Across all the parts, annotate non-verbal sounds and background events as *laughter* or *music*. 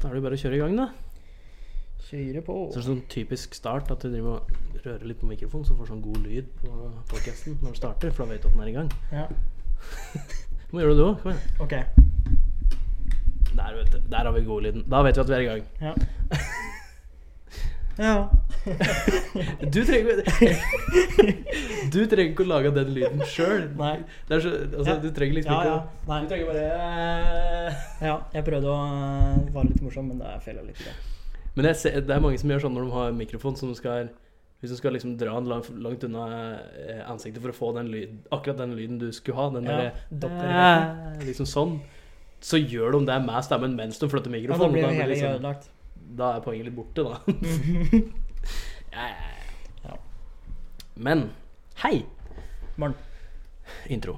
Da er det jo bare å kjøre i gang, da. Kjøre på. Så det er sånn typisk start at du driver og rører litt på mikrofonen, så du får sånn god lyd på podcasten når du starter, for da vet du at den er i gang. Ja, Du må gjøre det du òg. Kom igjen. ok. Der, vet du. Der har vi godlyden. Da vet vi at vi er i gang. *laughs* Ja. ja. Du trenger Du trenger ikke å *laughs* lage den lyden sjøl. Nei. Det er så Altså, du trenger liksom Ja, ikke ja. å Nei. Du trenger bare Ja, jeg prøvde å øh, være litt morsom, men det fella litt. i det. Men jeg ser, det er mange som gjør sånn når de har mikrofon, som skal Hvis du skal liksom dra den langt, langt unna eh, ansiktet for å få den lyd, akkurat den lyden du skulle ha, den Ja, derre doppelganger. Liksom sånn. Så gjør de det med stemmen mens de flytter Ja, da mikrofonen. blir da, det blir hele det greia liksom, *laughs* ødelagt. da er poenget litt borte, da. ja, ja, ja. Ja. Men hei! Morn. Intro.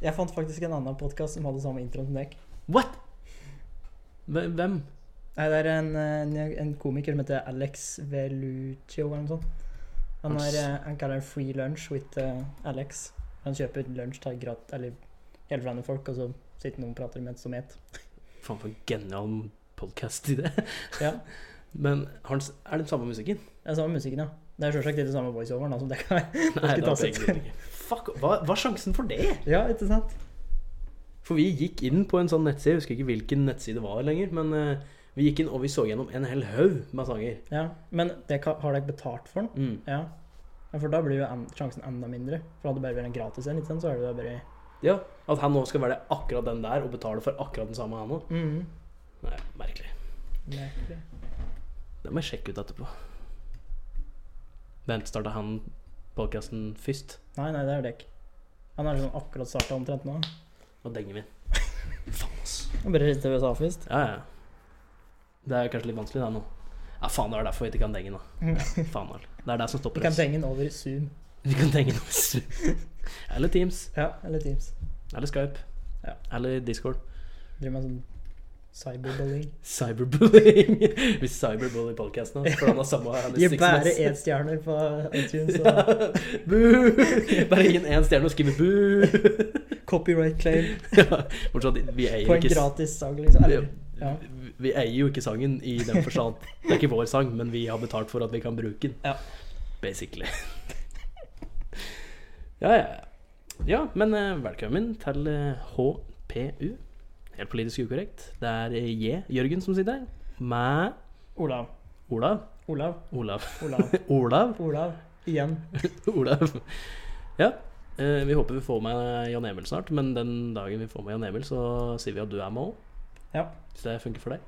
Jeg fant faktisk en annen podkast som hadde samme intro som deg. What? Hvem? hvem? Nei, det er en, øh, en, en komiker som heter Alex Veluccio eller noe sånt. Han, er, øh, han kaller det free lunch with øh, Alex. Han kjøper lunsj til grat- eller helt random folk, og så sitter noen og prater mens de spiser. Faen for en genial podkast-idé. Ja. Men har den s- er det den samme musikken? Det er samme musikken, ja. Det er selvsagt ikke det samme voiceoveren. da, som det kan være. Nei, Ikke det var tatt egentlig ikke. Fuck, hva, hva er sjansen for det? *laughs* Ja, ikke sant? For vi gikk inn på en sånn nettside, jeg husker ikke hvilken nettside det var lenger, men eh, vi gikk inn og vi så gjennom en hel haug med sanger. Ja, Men det kan, har dere betalt for den? Mm. Ja. ja. For da blir jo en, sjansen enda mindre. For hadde det bare vært en gratis en, ikke sant, så er det jo bare Ja, At han nå skal være akkurat den der og betale for akkurat den samme han òg. Mhm. Nei, merkelig. Merkelig. Det må jeg sjekke ut etterpå. Vent, starta han podkasten først? Nei, nei, det er jo dekk. Han har liksom akkurat starta omtrent nå. Nå denger *laughs* vi den. Faen, ass. Han bare reiste til USA *laughs* først. Ja, ja. Det er kanskje litt vanskelig, det nå. Ja, faen, det er derfor vi ikke kan denge nå. Ja, faen, vel. det er det som Vi stopper kan oss. trenge den over Zoom. Vi kan denge nå. Eller Teams. Ja, eller Teams. Eller Skype. Ja. Eller Discord. Driver med sånn *laughs* cyberbullying. Cyberbullying. *laughs* Vi cyberbully podcasten hans, for han har samme han Gir six bare months. *laughs* én-stjerner på iTunes. *laughs* Ja. Og Boo! Bare gi den én stjerne og skrive *laughs* boo! copyright claim *laughs* Ja, Bortsett fra at vi eier på en ikke gratis sang, liksom. vi, Eller, ja. vi eier jo ikke sangen i den forstand. Det er ikke vår sang, men vi har betalt for at vi kan bruke den. Ja. Basically. *laughs* Ja, ja. ja. Ja, men eh, velkommen til eh, HPU. Helt politisk ukorrekt. Det er eh, J. Jørgen som sitter her. Med Olav. Olav. Olav. Olav. *laughs* Olav. Olav. Olav. Igjen. Olav. Ja. eh, Vi håper vi får med Jan Emil snart, men den dagen vi får med Jan Emil, så sier vi at du er med òg. Ja. Hvis det funker for deg.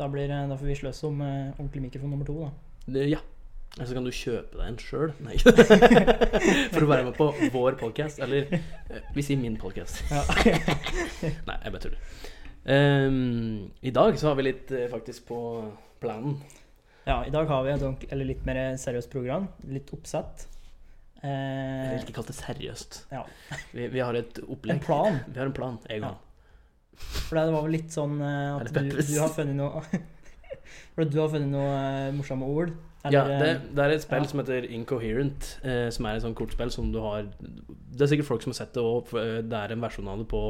Da, blir, da får vi sløse om eh, ordentlig mikrofon nummer to, da. Det- Ja. Eller så kan du kjøpe deg en sjøl. *laughs* Nei. For å være med på vår podkast. Eller eh, vi sier min podkast. Ja. *laughs* Nei, jeg bare tuller. Ehm, I dag så har vi litt eh, faktisk på planen. *laughs* ja, i dag har vi et ordentlig, eller litt mer seriøst program. Litt oppsett. Jeg vil Eh, ikke kalt det seriøst. Ja. Vi, vi har et en opplegg. plan. Vi har en plan. Jeg og Ja. han. For det var vel litt sånn eh, at Er du, det Peppers? du har funnet noe *laughs* For at du har funnet noe eh, morsomme ord. Ja, Eller, det, eh, det er et spill ja. som heter Incoherent, eh, som er et sånt kortspill som du har Det er sikkert folk som har sett det òg, det er en versjon av det på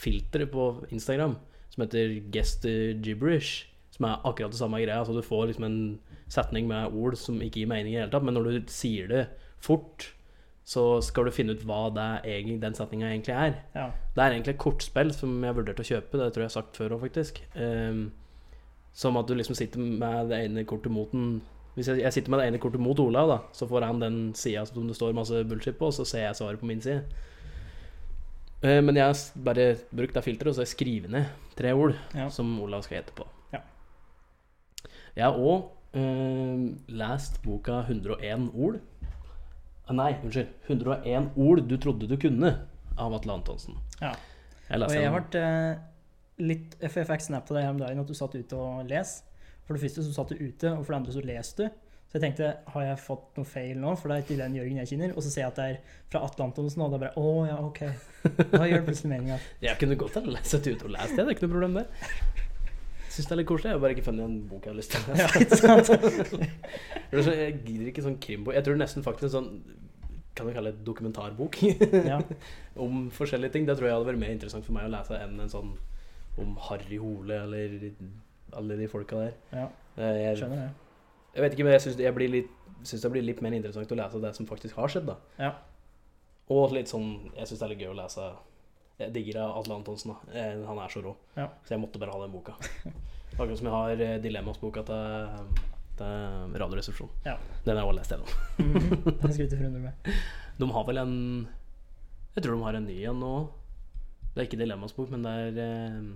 filteret på Instagram som heter Guest Gibberish, som er akkurat det samme greia. Så du får liksom en setning med ord som ikke gir mening i det hele tatt, men når du sier det fort, så skal du finne ut hva det er, egentlig- den setninga egentlig er. ja. Det er egentlig et kortspill som jeg vurderte å kjøpe, det tror jeg jeg har sagt før òg, faktisk. Ehm, som at du liksom sitter med det ene kortet mot den Hvis jeg, jeg sitter med det ene kortet mot Olav, da, så får han den sida som det står masse bullshit på, og så ser jeg svaret på min side. Eh, men jeg har s- bare brukt det filteret, og så har jeg skrevet ned tre ord Ja. som Olav skal gjette på. Ja. Jeg har òg lest boka 101 ord. Ah, nei, unnskyld. 101 ord du trodde du kunne, av Atle Antonsen. Ja. Jeg Og leste jeg den. ble eh, litt For jeg fikk snap av deg her om dagen at du satt ute og les. For det første så satt du ute, og for det andre så leste du. Så jeg tenkte har jeg fått noe feil nå, for det er ikke den Jørgen jeg kjenner. Og så ser jeg at det er fra Atle Antonsen, og da bare Å ja, OK. Da gjør det plutselig meninga. Jeg kunne godt ha sett ut og lest det, det er ikke noe problem der. Syns det er litt koselig. Jeg har bare ikke funnet en bok jeg har lyst til å Ja, lese. ikke sant? Eller så- Jeg gidder ikke sånn krimbok. Jeg tror nesten faktisk en sånn Kan du kalle det dokumentarbok? *laughs* Ja. om forskjellige ting. Det tror jeg hadde vært mer interessant for meg å lese enn en sånn om Harry Hole eller alle de folka der. ja, Eh, Jeg, skjønner det. jeg vet ikke, men jeg syns jeg blir litt synes det blir litt mer interessant å lese det som faktisk har skjedd, da. Ja. Og litt sånn Jeg syns det er litt gøy å lese Jeg digger Atle Antonsen, da. Eh, Han er så rå. Ja. Så jeg måtte bare ha den boka. *laughs* Akkurat som jeg har eh, Dilemmas-boka til, til Radioresepsjonen. Ja. Den har jeg også lest gjennom. Mhm. Jeg skulle ikke forundre meg. De har vel en Jeg tror de har en ny en nå. Det er ikke Dilemmas bok, men det er eh,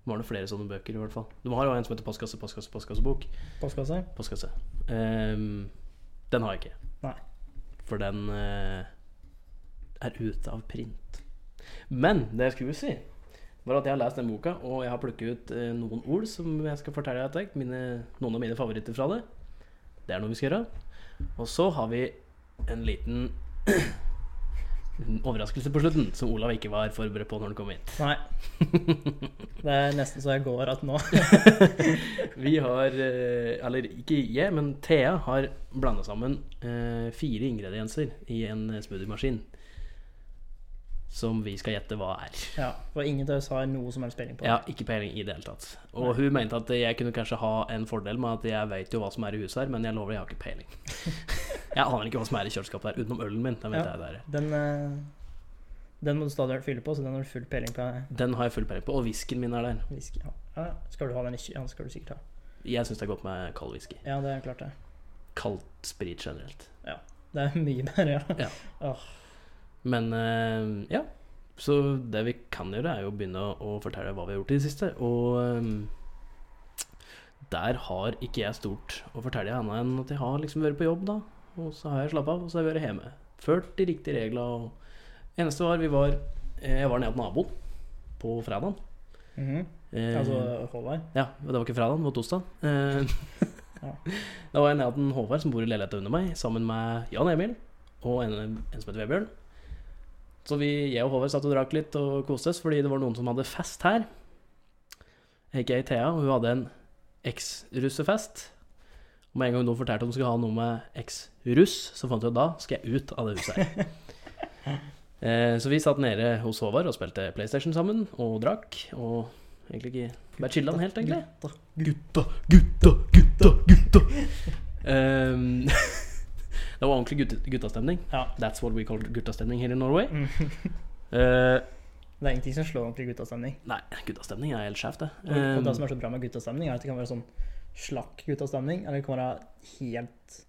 De har noen flere sånne bøker, i hvert fall. De har jo en som heter Postkasse, postkasse, postkassebok. Postkasse? Postkasse. Ehm, den har jeg ikke. Nei. For den eh, er ute av print. Men det jeg skulle si, var at jeg har lest den boka, og jeg har plukket ut eh, noen ord som jeg skal fortelle deg etter. hvert. Mine, noen av mine favoritter fra det. Det er noe vi skal gjøre. Og så har vi en liten *clears throat* overraskelse på slutten, som Olav ikke var forberedt på når han kom hit. Nei. *laughs* Det er nesten så jeg går at nå. Vi har, eh, eller ikke jeg, men Thea har blanda sammen eh, fire ingredienser i en smoothiemaskin. Som vi skal gjette hva er. Ja, For ingen av oss har noe som helst peiling på Jeg har ikke peiling i det hele tatt. Og hun mente at jeg kunne kanskje ha en fordel med at jeg veit jo hva som er i huset her, men jeg lover, jeg har ikke peiling. Jeg aner ikke hva som er i kjøleskapet der, utenom ølen min. Den vet Ja. jeg det er. Den, eh, den må du stadig fylle på, så den har du full peiling på. eh, Den har jeg full peiling på, og whiskyen min er der. Whisky. Ja. Ja, skal du ha den ikke? Ja, den skal du sikkert ha. Jeg syns det er godt med kald whisky. Ja, det er klart det. Kaldt sprit generelt. Det er mye bedre, ja. Men eh, ja. Så det vi kan gjøre, er jo å begynne å fortelle hva vi har gjort i det siste. Og eh, der har ikke jeg stort å fortelle annet enn at jeg har liksom vært på jobb, da. Og så har jeg slappa av, og så har jeg vært hjemme. Ført de riktige reglene. Og eneste var vi var eh, Jeg var nede hos naboen på fredagen. Mhm. Eh, Altså Håvard? ja, det var ikke fredagen, det var torsdag. Eh, Ja. Da var jeg nede hos Håvard, som bor i leiligheta under meg, sammen med Jan Emil og en, en som heter Vebjørn. Så vi, jeg og Håvard satt og drakk litt og koste oss, fordi det var noen som hadde fest her. Aka Thea, og hun hadde en eks-russefest. Og med en gang noen fortalte at de skulle ha noe med eks-russ, så fant vi ut da skal jeg ut av det huset her. Eh, Så vi satt nede hos Håvard og spilte PlayStation sammen og drakk. Og egentlig ikke bare chilla den helt, egentlig. Gutta, gutta, gutta, gutta. Ehm, *laughs* det var ordentlig gutte, guttastemning. Ja. *laughs* That's what we call guttastemning here in Norway. Mm. Eh, Det er ingenting som slår ordentlig guttastemning. nei, guttastemning er helt skjevt, det. Og, og det Ehm, som er så bra med guttastemning, er at det kan være sånn slakk guttastemning, eller det kan være helt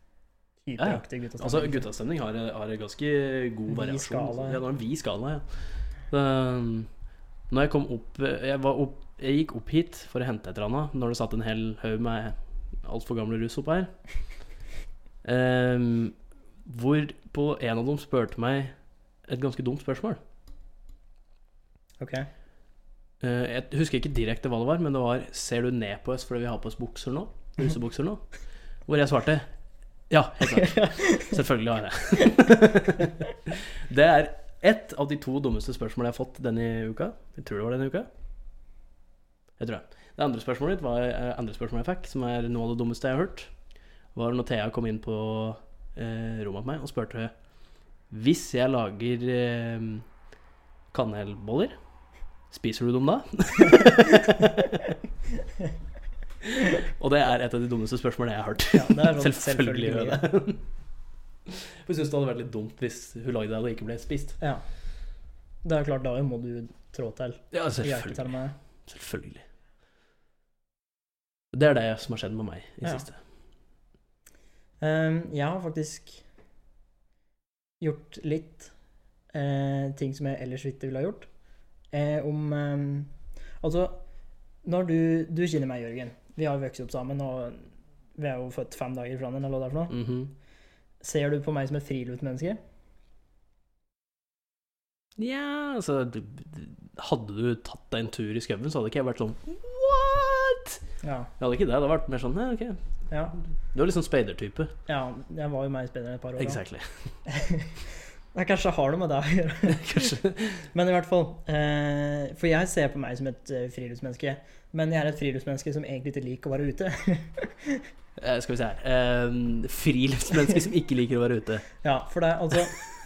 hyperaktig Altså, guttastemning. guttastemning har, har en ganske god Vid variasjon. skala, ja. Ja, det er en vid skala, ja. Det, um, når jeg kom opp jeg, var opp jeg gikk opp hit for å hente et eller annet når det satt en hel haug med altfor gamle russ oppå *laughs* her. Um, hvorpå en av dem spurte meg et ganske dumt spørsmål. Ok. Eh, Jeg husker ikke direkte hva det var, men det var 'Ser du ned på oss fordi vi har på oss bukser nå?' Rusebukser nå? Hvor jeg svarte 'Ja, helt klart'. Selvfølgelig har jeg det. *laughs* Det er ett av de to dummeste spørsmålene jeg har fått denne uka. Jeg tror det var denne uka. Jeg tror det. Det andre spørsmålet mitt var eh, andre spørsmålet jeg fikk, som er noe av det dummeste jeg har hørt, var når Thea kom inn på eh, rommet til meg og spurte Hvis jeg lager eh, kanelboller, spiser du dem da? Og det er et av de dummeste spørsmålene jeg har hørt. Ja, det er sånn Selvfølgelig gjør jeg selvfølgelig. det. *laughs* Jeg syns det hadde vært litt dumt hvis hun lagde det og det ikke ble spist. Ja. Det er klart, da må du trå til. Ja, Hjelpe til selvfølgelig. med selvfølgelig. Det er det som har skjedd med meg i Ja. siste. Ehm, jeg har faktisk gjort litt eh, ting som jeg ellers ikke ville ha gjort. Eh, om ehm, Altså, når du Du kjenner meg, Jørgen. Vi har vokst opp sammen, og vi er jo født fem dager fra hverandre, eller hva det er for noe. Mhm. Ser du på meg som et friluftsmenneske? Ja, altså d- d- Hadde du tatt deg en tur i skauen, så hadde ikke jeg vært sånn What?! Ja. Jeg hadde ikke det. Det hadde vært mer sånn ja, ok. Ja, Du er litt sånn speidertype. ja jeg var jo meg spennende et par år. da. Exactly. Nei, kanskje har noe med *laughs* det å gjøre. *laughs* *laughs* Kanskje. Men i hvert fall. eh, for jeg ser på meg som et eh, friluftsmenneske. Men jeg er et friluftsmenneske som egentlig ikke liker å være ute. Eh, skal vi se her um, Friluftsmenneske som ikke liker å være ute. ja, for det, altså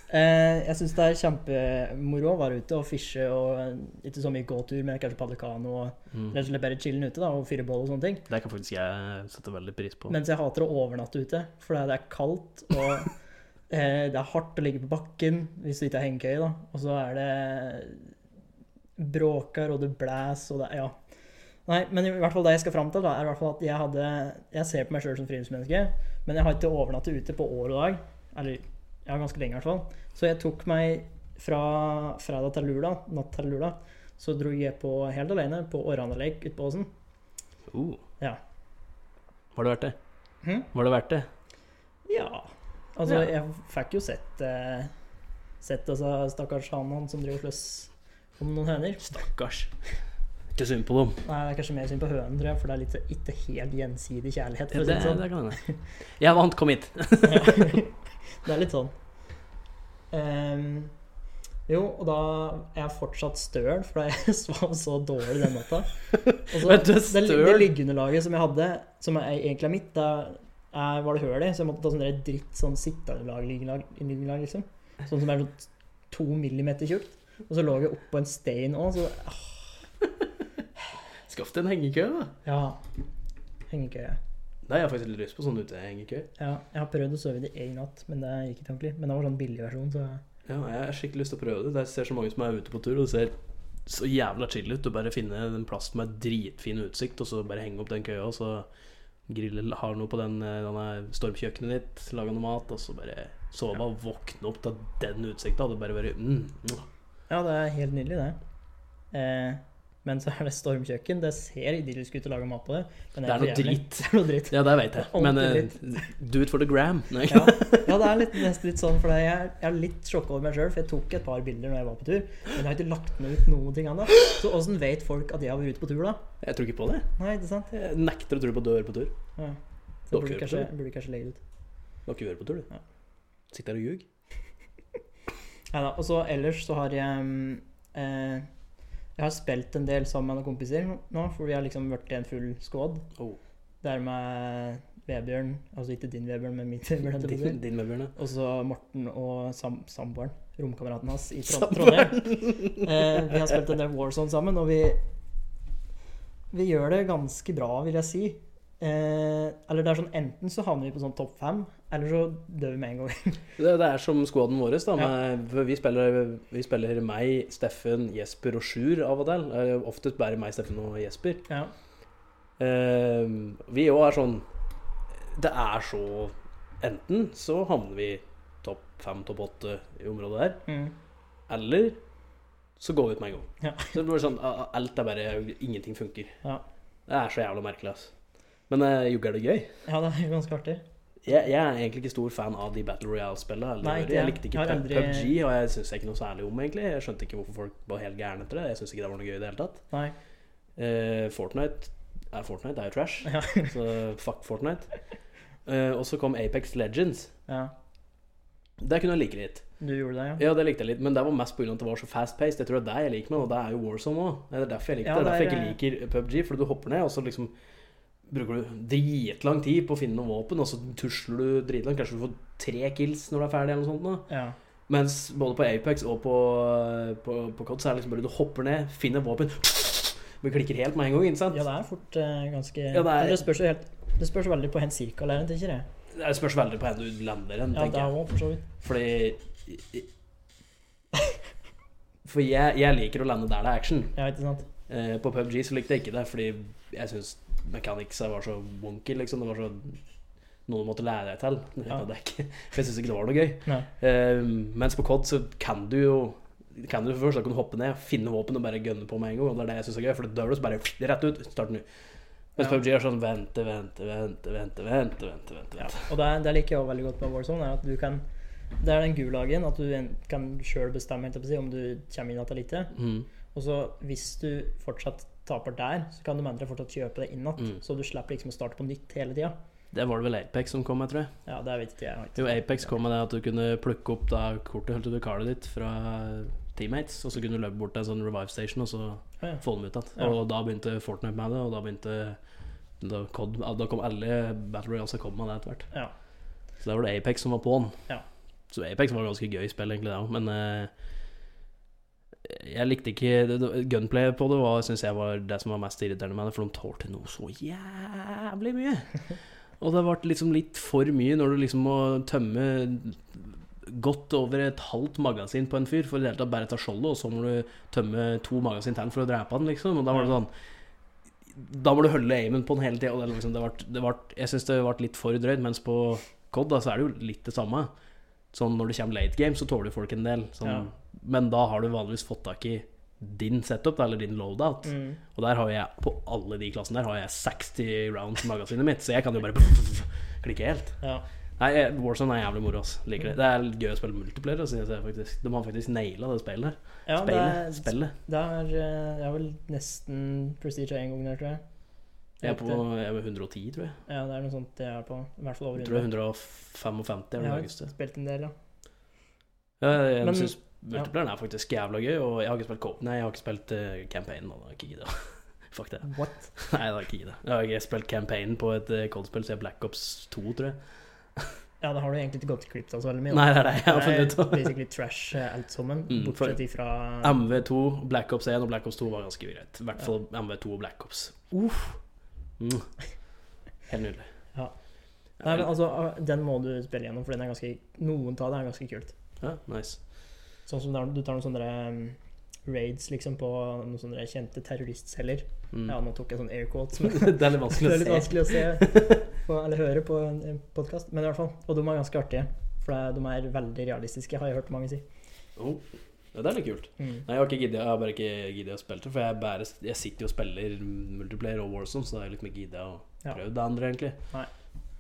eh, Jeg syns det er kjempemoro å være ute og fiske og eh, ikke så mye gåtur, men kanskje padle kano og Mm. rett og slett bare chille'n ute da, og fyre bål og sånne ting. Det kan faktisk jeg eh, sette veldig pris på. Mens jeg hater å overnatte ute, for det er kaldt, og *laughs* eh, det er hardt å ligge på bakken hvis du ikke har hengekøye, da. Og så er det bråker, og det blæs, og det Ja. Nei, men i hvert fall det jeg skal fram til, da, er i hvert fall at jeg hadde Jeg ser på meg sjøl som friluftsmenneske, men jeg har ikke overnattet ute på år og dag. Eller ja, ganske lenge, i hvert fall. Så jeg tok meg fra fredag til lørdag, natt til lørdag, så dro jeg på helt alene på Åranelek ute på åsen. Oh. Ja. Var det verdt det? Hm? Var det verdt det? Ja. Altså, Ja. jeg fikk jo sett eh, Sett altså, stakkars han han som driver og slåss om noen høner. Stakkars. Ikke synd på dem. Nei, det er kanskje mer synd på hønen, tror jeg, for det er litt, så- ikke helt gjensidig kjærlighet, Det, for å si det det sånn. kan hende. Jeg vant, kom hit! *laughs* Det er litt sånn. Ehm, jo, og da er jeg fortsatt støl, for jeg *laughs* sov så dårlig den natta. Og så, Men du er det, det støl? liggeunderlaget som jeg hadde, som er, egentlig er mitt, da er, var det høl i, så jeg måtte ta sånn der dritt sånn sitteunderlag, liggeunderlag, liggeunderlag, liksom. Sånn som er sånn to millimeter tjukt. Og så lå jeg oppå en stein òg, så Skaff deg en hengekøye, da. ja. Hengekøye. Det har jeg faktisk litt lyst på, sånn utehengekøye. Ja, jeg har prøvd å sove i det én natt, men det gikk ikke ordentlig. Men det var sånn billig versjon, så Ja, jeg har skikkelig lyst til å prøve det. Jeg ser så mange som er ute på tur, og det ser så jævla chill ut. Du bare finner en plass med dritfin utsikt, og så bare henge opp den køya, og så grille har noe på den, eh, denne stormkjøkkenet ditt, lage noe mat, og så bare sove og våkne opp til den utsikta. Det bare bare mm, mm. Ja, det er helt nydelig, det. Eh, men så er det stormkjøkken. Det ser idyllisk ut å lage mat på det. Men Det er noe for jævlig. dritt. *laughs* Det er noe dritt. Ja, det veit jeg. Men eh, do it for the *laughs* gram. Nei. Ja, ja det er litt, nesten litt sånn, for jeg er, jeg er litt sjokka over meg sjøl. For jeg tok et par bilder når jeg var på tur, men jeg har ikke lagt med ut noen ting ennå. Så åssen vet folk at jeg har vært ute på tur, da? Jeg tror ikke på det. Nei, ikke sant? Jeg nekter å tro på at du hører på tur. Ja. Dere Så burde hører på kanskje, tur. burde kanskje legge det ut. Du har ikke hørt på tur, du. Ja. Sitt der og ljug. Neida, Og så ellers så har jeg mm, eh, Jeg har spilt en del sammen med noen kompiser nå, for vi har liksom vært i en full squad. Oh. Det er med Vebjørn, altså ikke din Vebjørn, men min Vebjørn. holdt jeg på å Din, si. din med, Bjørne. Og så Morten og sam samboeren, romkameraten hans, i Trond Samboeren. Trondheim. Eh, vi har spilt en del Warzone sammen, og vi Vi gjør det ganske bra, vil jeg si. Eh, eller det er sånn enten så havner vi på sånn topp fem, eller så dør vi med en gang. Det, det er som squaden vår. Da, med, for vi, spiller, vi spiller meg, Steffen, Jesper og Sjur av og til. Eh, Oftest bare meg, Steffen og Jesper. Ja. Eh, vi òg er sånn Det er så Enten så havner vi topp fem, topp åtte i området der, Mm. eller så går vi ut med en gang. Ja. Så det blir sånn, a- a- Alt er bare Ingenting funker. Ja. Det er så jævla merkelig, altså. Men eh, jogg er det gøy. ja, det er ganske artig. Jeg, jeg er egentlig ikke stor fan av de Battle Royale-spillene. Nei, Jeg, ikke jeg. likte ikke Jeg har Pub- aldri- PubG, og jeg syns ikke noe særlig om egentlig. Jeg skjønte ikke hvorfor folk var helt gærne etter det. Jeg syns ikke det var noe gøy i det hele tatt. Nei. Eh, Fortnite, er, Fortnite er jo trash, Ja. så fuck Fortnite. Eh, og så kom Apex Legends. ja. Det kunne jeg like litt. Du gjorde det, ja? Ja, det likte jeg litt, men det var mest pga. at det var så fast-paced. Jeg tror det er det jeg liker med det, og det er jo Warzone òg. Det er derfor jeg liker Ja, det. Det er derfor det er- jeg ikke liker PubG, fordi du hopper ned, og så liksom bruker du dritlang tid på å finne noen våpen, og så tusler du dritlangt. Kanskje du får tre kills når du er ferdig, eller noe sånt. Da. Ja. Mens både på Apex og på, på, på COD så er det liksom bare du hopper ned, finner våpen Vi klikker helt med en gang, ikke sant? Ja, det er fort eh, ganske Ja, det er- Men det, spørs jo helt, det spørs jo veldig på hen cirka lærer, tenker jeg. Det spørs veldig på hvor du lander hen, Ja, det tenker jeg. er også, for så vidt. Fordi *laughs* For jeg, jeg liker å lande der det er action. Ja, ikke sant? Eh, på PubG så likte jeg ikke det, fordi jeg syns mechanicsa var så wonky, liksom. Det var så noe du måtte lære deg til. Det Ja. hadde jeg ikke. *laughs* For jeg syns ikke det var noe gøy. Nei. Eh, mens på COD så kan du jo kan du først, da kan du hoppe ned, finne våpen og bare gønne på med en gang. Og det er det jeg syns er gøy, for da er det bare rett ut. Start nå. Mens Ja. PubG er sånn vente, vente, vente, vente, vente, vente. vente. Ja. Og det, er- det liker jeg også veldig godt med Warzone, er at du kan Det er den gulagen at du en- kan sjøl bestemme helt, opp å si, om du kommer inn igjen eller ikke. Mm. Og så hvis du fortsatt taper der, så kan de andre fortsatt kjøpe deg inn igjen. Mm. Så du slipper liksom å starte på nytt hele tida. Det var det vel Apex som kom med, tror jeg. Ja, det vet ikke jeg. vet ikke. Jo, Apex kom med det at du kunne plukke opp da kortet holdt du kartet ditt fra teammates, og så kunne du løpe bort til en sånn revive station og så Å, ja. få dem ut igjen. Ja. Og da begynte Fortnite med det, og da begynte da, COD, ja, da kom alle Battle Royale som kom med det etter hvert. Ja. Så da var det Apex som var på'n. Ja. Så Apex var ganske gøy spill, egentlig, det òg, men eh, jeg likte ikke det- det- Gunplayet på det var, synes jeg var det som var mest irriterende med det, for de tålte noe så jævlig mye. Og det ble liksom litt for mye når du liksom må tømme godt over et halvt magasin på en fyr for i det hele tatt bare ta skjoldet, og så må du tømme to magasin til for å drepe han, liksom. Og da var det sånn Da må du holde aimen på han hele tida, og det, liksom, det ble, det ble, jeg syns det ble litt for drøyt, mens på COD da, så er det jo litt det samme. Sånn når det kommer late game, så tåler jo folk en del. Sånn, Ja. Men da har du vanligvis fått tak i din setup, da, eller din loadout. Mm. Og der har jeg, på alle de klassene der har jeg 60 rounds i magasinet mitt, så jeg kan jo bare *laughs* klikke helt. Ja. Nei, jeg- Warzone er jævlig moro. ass. Liker det. Det er litt gøy å spille multiplayer. ass, synes jeg faktisk. De har faktisk naila det spillet. her. ja, det er, Spillet. spillet. det er, eh, det er vel nesten Prestige en gang der, tror jeg. Jeg er Riktig. på jeg er på 110, tror jeg. Ja, det er noe sånt jeg er på. I hvert fall over Jeg tror jeg er hundre. 155 er Jeg det har høyeste. Spilt en del, ja. Ja, Jeg, Men- jeg syns multiplayeren er faktisk jævla gøy, og jeg har ikke spilt Coop. Nei, jeg har ikke spilt eh, campaignen. Og da har jeg ikke giddet. *laughs* Fuck det. What? Nei, det har jeg ikke giddet. Jeg har ikke spilt campaignen på et eh, Cold-spill siden Black Ops 2, tror jeg. Ja, da har du egentlig ikke gått klipp av så veldig mye. da. Nei, det er det jeg har Det er funnet ut av. *laughs* Basically trash eh, alt sammen, Mm, for- bortsett ifra MV2, Black Ops 1 og Black Ops 2 var ganske greit. I hvert fall MV2 og Black Ops. Uff. Mm. Helt nydelig. Ja. Nei, men altså, ah, den må du spille gjennom, for den er ganske Noen av det er ganske kult. Ja, nice. Sånn som der, du tar noen sånne eh, raids liksom på noen sånne kjente terroristceller. Mm. Ja, nå tok jeg sånn air quotes, *laughs* men det er litt det er litt vanskelig å se. vanskelig å se på, eller høre på en podkast. Men i hvert fall. Og de er ganske artige. For det- de er veldig realistiske, har jeg hørt mange si. Oh, ja, det er litt kult. Mm. Nei, jeg har, ikke giddet, jeg har bare ikke giddet å spille det, for jeg, bare, jeg sitter jo og spiller multiplayer og Warzone, så da har jeg liksom ikke giddet å Ja. prøve det andre, egentlig. Nei.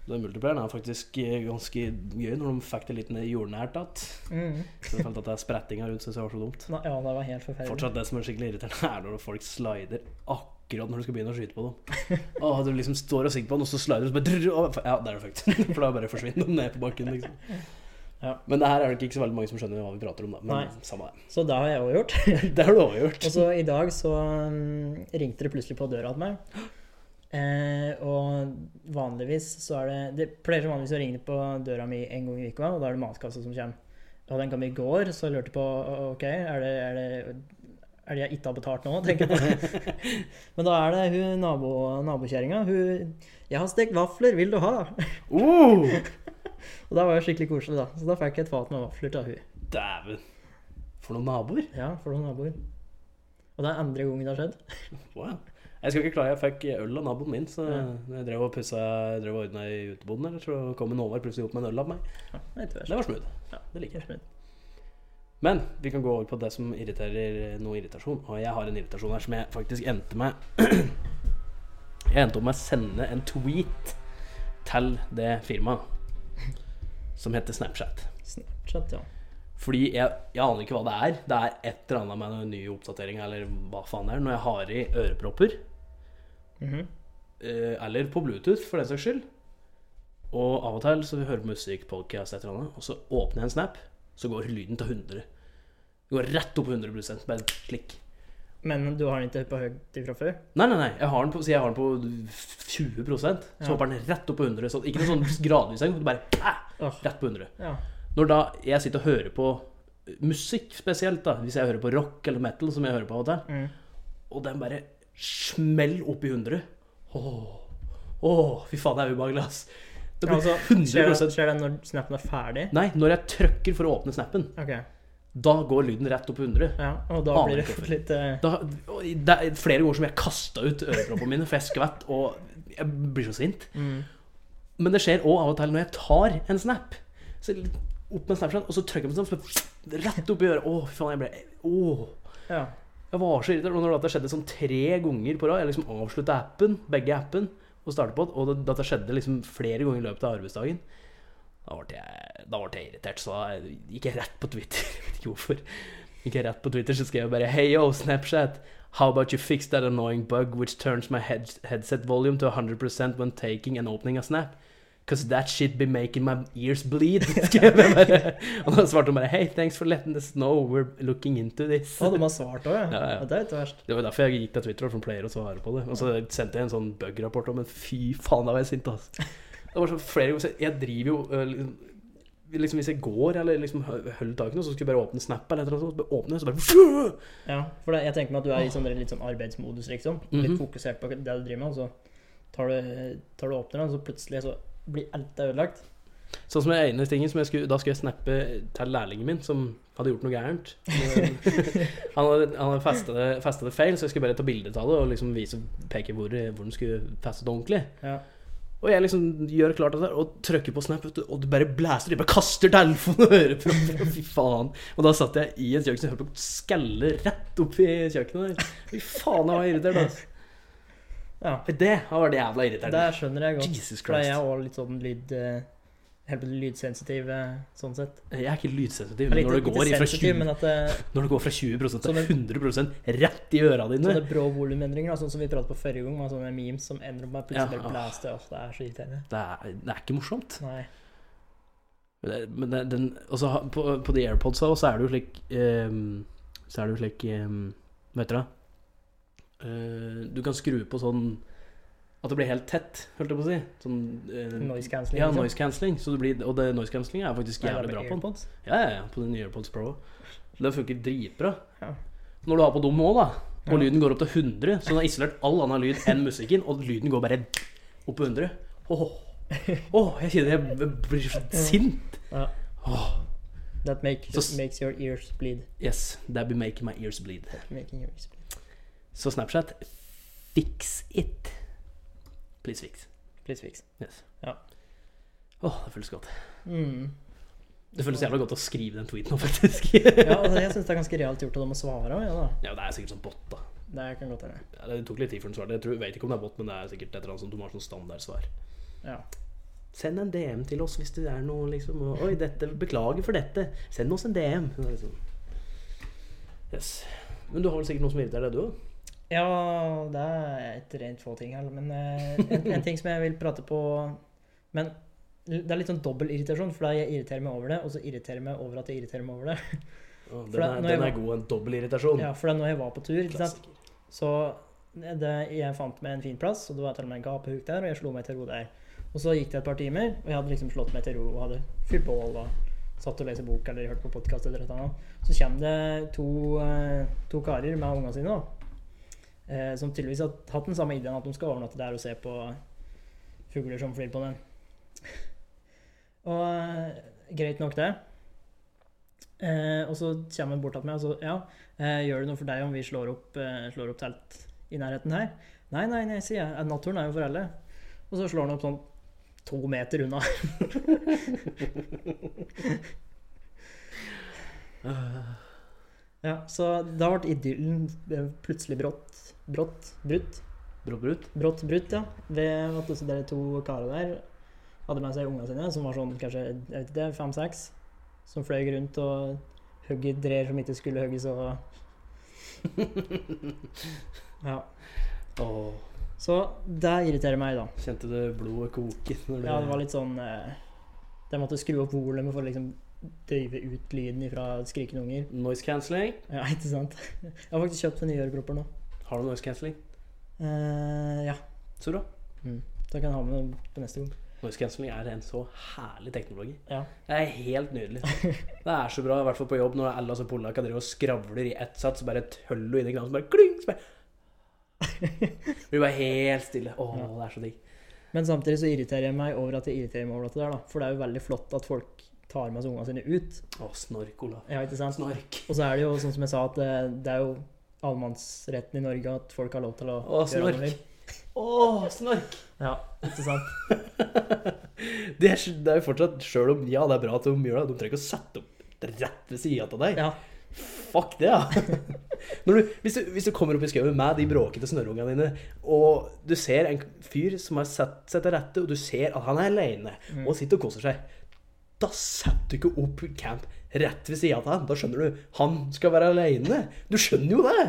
Den multiplayeren er faktisk eh, ganske gøy, når de fikk det litt ned jordnært at. Mm. Så jeg følte at det er sprettinga rundt, synes jeg var så dumt. Nei, ja, det var helt forferdelig. Fortsatt det som er skikkelig irriterende, er når folk slider akkurat når du skal begynne å skyte på dem. Åh, du liksom står og sikter på den, og så slider du, så bare drrr, åh, Ja, der er det fucked. *laughs* For da bare forsvinner de ned på bakken, liksom. Ja. Men det her er det ikke så veldig mange som skjønner hva vi prater om, da. Men Nei. samme det. Så det har jeg òg gjort. Det *laughs* har du også gjort. Og så i dag så mm, ringte det plutselig på døra til meg. Eh, og vanligvis så er det Det pleier som vanligvis å ringe på døra mi en gang i uka, og da er det matkasse som kommer. Og den kom i går, så jeg lurte på OK, er det, er det, er det jeg ikke har betalt nå? tenker jeg på. *laughs* Men da er det hun nabo, nabokjerringa. Hun 'Jeg har stekt vafler, vil du ha?' Oh, Og da var det skikkelig koselig, da. Så da fikk jeg et fat med vafler av hun. Dæven. For noen naboer. Ja, for noen naboer. Og det er andre gangen det har skjedd. Wow. Jeg skal ikke klare, jeg fikk øl av naboen min. Så Ja. jeg drev og pussa Jeg drev og ordna i uteboden, eller så kom en Håvard plutselig opp med en øl av meg. Ja, det er ikke verst. Det var smooth. Ja. Det liker jeg. Helt smooth. Men vi kan gå over på det som irriterer noe irritasjon. Og jeg har en irritasjon her som jeg faktisk endte med *clears throat* Jeg endte opp med å sende en tweet til det firmaet som heter Snapchat. Snapchat, ja. Fordi jeg, jeg aner ikke hva det er. Det er et eller annet med noen nye oppdateringer eller hva faen det er. Når jeg har i ørepropper, Mhm. eh, eller på Bluetooth for den saks skyld, og av og til så hører jeg på musikk, podcast, et eller annet, og så åpner jeg en snap, så går lyden til 100. Det går rett opp på 100 bare klikk. Men du har den ikke på høyt ifra før? Nei, nei, nei. Jeg har den på, si jeg har den på 20 så Ja. hopper den rett opp på 100. Så, ikke noe sånn gradvis engang, men bare ah, Åh, rett på 100. ja. Når da jeg sitter og hører på musikk spesielt, da, hvis jeg hører på rock eller metal, som jeg hører på av og til, Mm. og den bare smell opp i 100. Åh, åh, fy faen, det er ubehagelig, ass. Det blir Altså, skjer, 100 det, skjer det når snappen er ferdig? Nei, når jeg trykker for å åpne snappen, Ok, da går lyden rett opp i 100. ja, og da Aner blir det *laughs* ikke hvorfor. litt eh, Da, og det er flere ganger som jeg kasta ut øreproppene mine, for jeg skvett, og jeg blir så sint. mm. Men det skjer òg av og til når jeg tar en snap. Så jeg opp med Snapchat, og så trykker jeg på den, så rett opp i øret. Åh, fy faen, jeg ble Åh. Ja. Jeg var så irritert. Og når det skjedde sånn tre ganger på rad Jeg liksom avslutta appen, begge appen, og startet på det. Og det, dette skjedde liksom flere ganger i løpet av arbeidsdagen. Da ble jeg, da ble jeg irritert, så da gikk jeg rett på Twitter. *laughs* Jeg vet ikke hvorfor. Gikk jeg rett på Twitter, så skrev jeg bare Hey yo, Snapchat. How about you fix that annoying bug which turns my head headset volume to 100% when taking and opening a snap? Cause that shit be making my ears bleed. *laughs* Skrev jeg bare. Og da svarte hun bare Hey, thanks for letting us know. We're looking into this. Å, de har svart òg, ja. Ja, ja. ja. Det er ikke verst. Det var derfor jeg gikk til Twitter, for de pleier å svare på det. Og så sendte jeg en sånn bug-rapport om men fy faen, da var jeg sint, ass. Det var så flere ganger, så jeg driver jo øh, liksom- liksom Hvis jeg går eller liksom hø- holder tak i noe, så skulle jeg bare åpne Snap eller et eller annet, sånt, så bare åpner jeg, så bare Ja, for det, jeg tenker meg at du er i sånn, litt sånn arbeidsmodus, liksom. Mhm. Litt fokusert på det du driver med, og så tar du, tar du åpner den, og så plutselig så blir alt det ødelagt. Sånn som den ene tingen som jeg skulle Da skulle jeg snappe til lærlingen min, som hadde gjort noe gærent. *laughs* han hadde, han hadde festet det- festet det feil, så jeg skulle bare ta bilde av det og liksom vise, peke hvor, hvor den skulle festet ordentlig. Ja. Og jeg liksom gjør klart det der og trykker på Snap, vet du, og det bare blæser i. Bare kaster telefonen og høreproppen. *laughs* Fy faen. Og da satt jeg i et kjøkken som hørte på skalle rett opp i kjøkkenet der. Fy faen, jeg var irritert, altså. ja. *laughs* Det har vært jævla irriterende. Det skjønner jeg godt. Jesus For da er jeg Christ. òg litt sånn lyd... eh, Helt lydsensitiv, eh, sånn sett. Jeg er ikke lydsensitiv, Eller men ikke- når det ikke går ifra sensitiv, 20 Men at eh, det, Når det går fra 20 til Sånne- 100 rett i øra dine. sånne brå volumendringer, da, sånn som vi pratet på forrige gang, altså, med sånne memes som ender opp med Ja, plutselig bare åh. blæste. Åh, det er så irriterende. Det er, det er ikke morsomt. Nei. Men det- Men det, den, og så ha- på, på de AirPodsa også, så er det jo slik ehm, Så er det jo slik ehm, Vet dere det? Eh, du kan skru på sånn At det blir helt tett, holdt jeg på å si. Sånn eh, Noise cancelling. Ja, liksom. noise cancelling. Så det blir, og det noise cancelling er faktisk Nei, det er jævlig bra bare på den. AirPods. Ja, ja, ja, på de nye AirPods Pro. Den funker dritbra. Ja. Når du har på dem òg, da, og Ja. lyden går opp til 100, så den har isolert all annen lyd enn musikken, og lyden går bare opp til 100 Åh, åh, jeg kjenner jeg blir så sint. Ja. Åh, That make, Så s- makes your ears bleed. yes, that be making my ears bleed. Making your ears bleed. Så Snapchat, fix it. Please fix. Please fix. Yes. Ja. Åh, det føles godt. Mm. Det føles jævla godt å skrive den tweeten nå, faktisk. *laughs* *laughs* Ja, altså, jeg syns det er ganske realt gjort av dem å svare òg, ja da. Ja, det er sikkert sånn bot, da. Det kan godt hende. Ja, det tok litt tid før den svarte. Jeg, tror, jeg vet ikke om det er bot, men det er sikkert et eller annet sånt de har sånn standardsvar. Ja. Send en DM til oss hvis det er noe liksom og, Oi, dette, beklager for dette. Send oss en DM. Det er liksom- Yes. Men du har vel sikkert noe som irriterer deg, du òg? ja, det er et rent få ting her, men eh, en, en ting som jeg vil prate på Men det er litt sånn dobbel irritasjon, for da jeg irriterer meg over det, og så irriterer jeg meg over at jeg irriterer meg over det. Å, Den, For da- er- når den jeg er god. En dobbel irritasjon. Ja, for da når jeg var på tur, ikke sant, Klassiker. så det, jeg fant meg en fin plass, og det var til og med en gapehuk der, og jeg slo meg til ro der. Og så gikk det et par timer, og jeg hadde liksom slått meg til ro og hadde fyrt bål og satt og leste bok eller hørt på podkast eller et eller annet. Så kommer det to, eh, to karer med ungene sine, da, eh, som tydeligvis har hatt den samme ideen at de skal overnatte der og se på fugler som flyr på den. *laughs* Og eh, greit nok, det. Eh, og så kommer han bort til meg og så Ja, eh, gjør det noe for deg om vi slår opp, eh, slår opp telt i nærheten her? Nei, nei, nei, sier jeg. Eh, Naturen er jo for alle. Og så slår han opp sånn to meter unna. *laughs* ja, så da ble idyllen eh, plutselig brått, brått, brutt. Brått brutt. Brått brutt, ja. Ved at også de to karene der hadde med seg ungene sine, som var sånn kanskje jeg vet ikke, fem-seks, som fløy rundt og hogg i trær som ikke skulle hogges. Og... Ja. Åh, Så det irriterer meg, da. kjente det blodet koke? når Ja, det var litt sånn eh, De måtte skru opp volumet for å liksom døyve ut lyden fra skrikende unger. Noise cancelling. Ja, *laughs* ikke sant? Jeg har faktisk kjøpt nye ørepropper nå. Har du noise cancelling? Eh, ja. Så bra. Da kan jeg ha med dem på neste gang. Noise cancelling er en så herlig teknologi. Ja. Det er helt nydelig. Det er så bra, i hvert fall på jobb, når alle altså polakka driver og skravler i ett sats, så bare tøller du inn i kranen, så bare kling! Så bare Blir bare helt stille. Å, Ja. det er så digg. Men samtidig så irriterer jeg meg over at jeg irriterer meg over dette der, da. For det er jo veldig flott at folk tar med seg ungene sine ut. Å, snork, Olav. Ja, ikke sant? Snork. Og så er det jo sånn som jeg sa, at det, det er jo allemannsretten i Norge at folk har lov til å Å, gjøre hva snork. de vil. Å, snork. Ja, ikke sant? Det er, det er jo fortsatt, sjøl om ja, det er bra at de gjør det, de trenger ikke å sette opp rett ved sida av deg. Ja. Fuck det, ja. *laughs* Når du, hvis, du, hvis du kommer opp i skauen med de bråkete snørrungene dine, og du ser en fyr som har sett seg til rette, og du ser at han er aleine Mm. og sitter og koser seg, da setter du ikke opp camp rett ved sida av han. Da skjønner du han skal være aleine. Du skjønner jo det!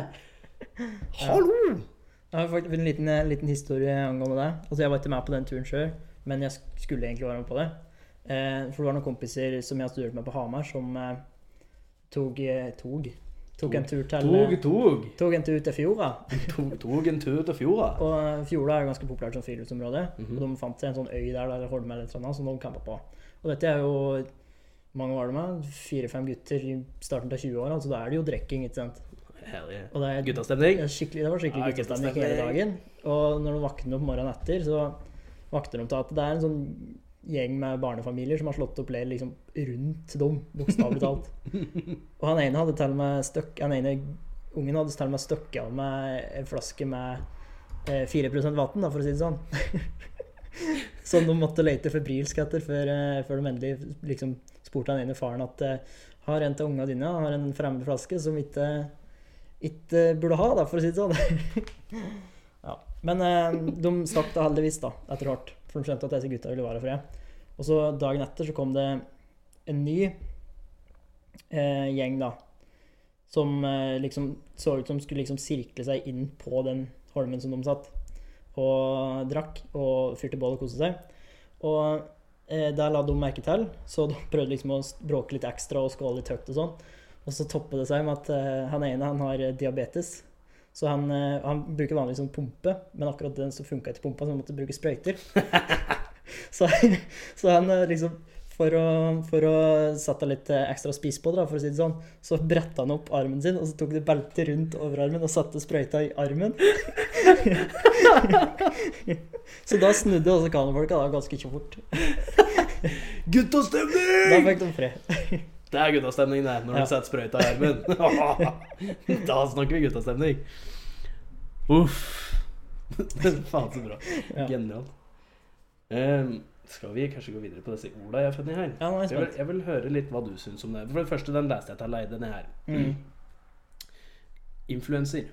Hallo! eh, Jeg har faktisk en liten, en liten historie angående det. Altså, jeg var ikke med på den turen sjøl, men jeg sk- skulle egentlig være med på det. Eh, for det var noen kompiser som jeg studerte med på Hamar, som eh, tog, eh, tog, Tog. tok en tur til eh, Tog, tog. Tog en tur til fjorda. Tog, tog en tur til fjorda. Og eh, Fjorda er jo ganske populært som friluftsområde. Mhm. Og de fant seg en sånn øy der, eller holme eller et eller annet, som de campa på. Og dette er jo mange var det med? Fire-fem gutter i starten av 20-åra, så altså, da er det jo drikking, ikke sant? Hell yeah. Og det er Guttastemning. ja, Skikkelig, det var Ja, skikkelig guttastemning hele dagen. Og når de våkner opp morgenen etter, så vakter de til at det er en sånn gjeng med barnefamilier som har slått opp leir liksom rundt dem, bokstavelig talt. Og han ene hadde til og med støkk... Han ene ungen hadde til og med støkka av med en flaske med eh, 4 vann, da, for å si det sånn. *laughs* Som de måtte lete febrilsk etter før, eh, før de endelig liksom, spurte han ene faren at eh, har en til unga dine har en fremmed flaske som ikke ikke burde ha, da, for å si det sånn. ja. Men eh, de stakk da heldigvis, da, etter hvert. For de skjønte at disse gutta ville være for det. Og så dagen etter så kom det en ny eh, gjeng, da. Som eh, liksom så ut som skulle liksom sirkle seg inn på den holmen som de satt. Og drakk og fyrte bål og koste seg. Og eh, der la de merke til, så de prøvde liksom å bråke litt ekstra og skåle litt høyt og sånn. Og så topper det seg med at eh, han ene han har eh, diabetes. Så han, eh, han bruker vanligvis sånn pumpe, men akkurat den som funka ikke pumpa, så han måtte bruke sprøyter. så, så han eh, liksom For å, for å sette litt eh, ekstra spiss på det, da, for å si det sånn, så bretta han opp armen sin, og så tok det beltet rundt overarmen og satte sprøyta i armen. *laughs* så da snudde også kanofolka da ganske fort. Da Guttastemning! fikk de fred. Det er guttastemning, det. Når Ja. du setter sprøyta i *laughs* armen. *laughs* da snakker vi guttastemning. Uff. *laughs* Faen, så bra. Ja. Genialt. Ehm, skal vi kanskje gå videre på disse orda jeg har funnet her? Ja, nå er jeg Jeg vil, spent. jeg vil høre litt hva du syns om det. For det første, den leste jeg til deg, denne her. Mm. Influenser.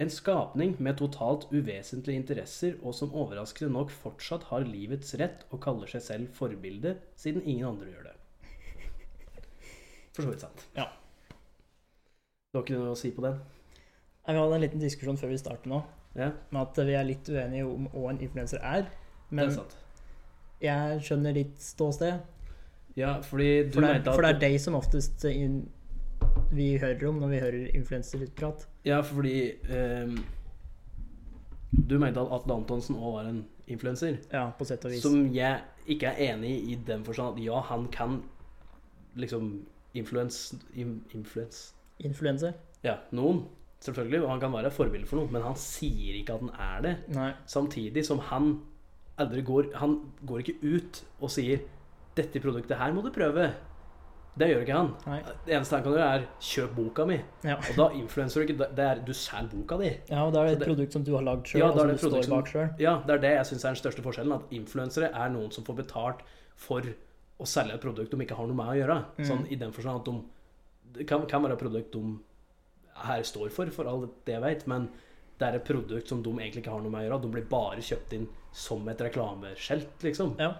En skapning med totalt uvesentlige interesser, og som overraskende nok fortsatt har livets rett og kaller seg selv forbilde, siden ingen andre gjør det. For så vidt sant. Ja. Du har ikke noe å si på den? Ja, Vi hadde en liten diskusjon før vi starter nå, Ja, med at vi er litt uenige om hva en influenser er. det er Men sant. jeg skjønner ditt ståsted. Ja, fordi du For det, er, mente at for det er deg som oftest inn, vi hører om når vi hører influenserprat. Ja, fordi ehm, Du mente at Atle Antonsen òg var en influenser. Ja, på sett og vis. Som jeg ikke er enig i i den forstand at ja, han kan liksom influens in, influens. Influenser? Ja, noen, selvfølgelig. Og han kan være et forbilde for noen, men han sier ikke at han er det. Nei. Samtidig som han aldri går Han går ikke ut og sier 'Dette produktet her må du prøve'. Det gjør ikke han. Nei. Det eneste han kan gjøre, er 'kjøp boka mi'. Ja. Og da influenser du ikke. Det er du selger boka di. ja, og da Så er det det- et produkt som du har lagd sjøl, Ja, og da er som det du et produkt står som- bak sjøl. Ja, det er det jeg syns er den største forskjellen. At influensere er noen som får betalt for å selge et produkt de ikke har noe med å gjøre. Mm. Sånn i den forstand at de Det kan, kan være et produkt de her står for, for alt det jeg vet, men det er et produkt som de egentlig ikke har noe med å gjøre. De blir bare kjøpt inn som et reklameskjelt, liksom. Ja.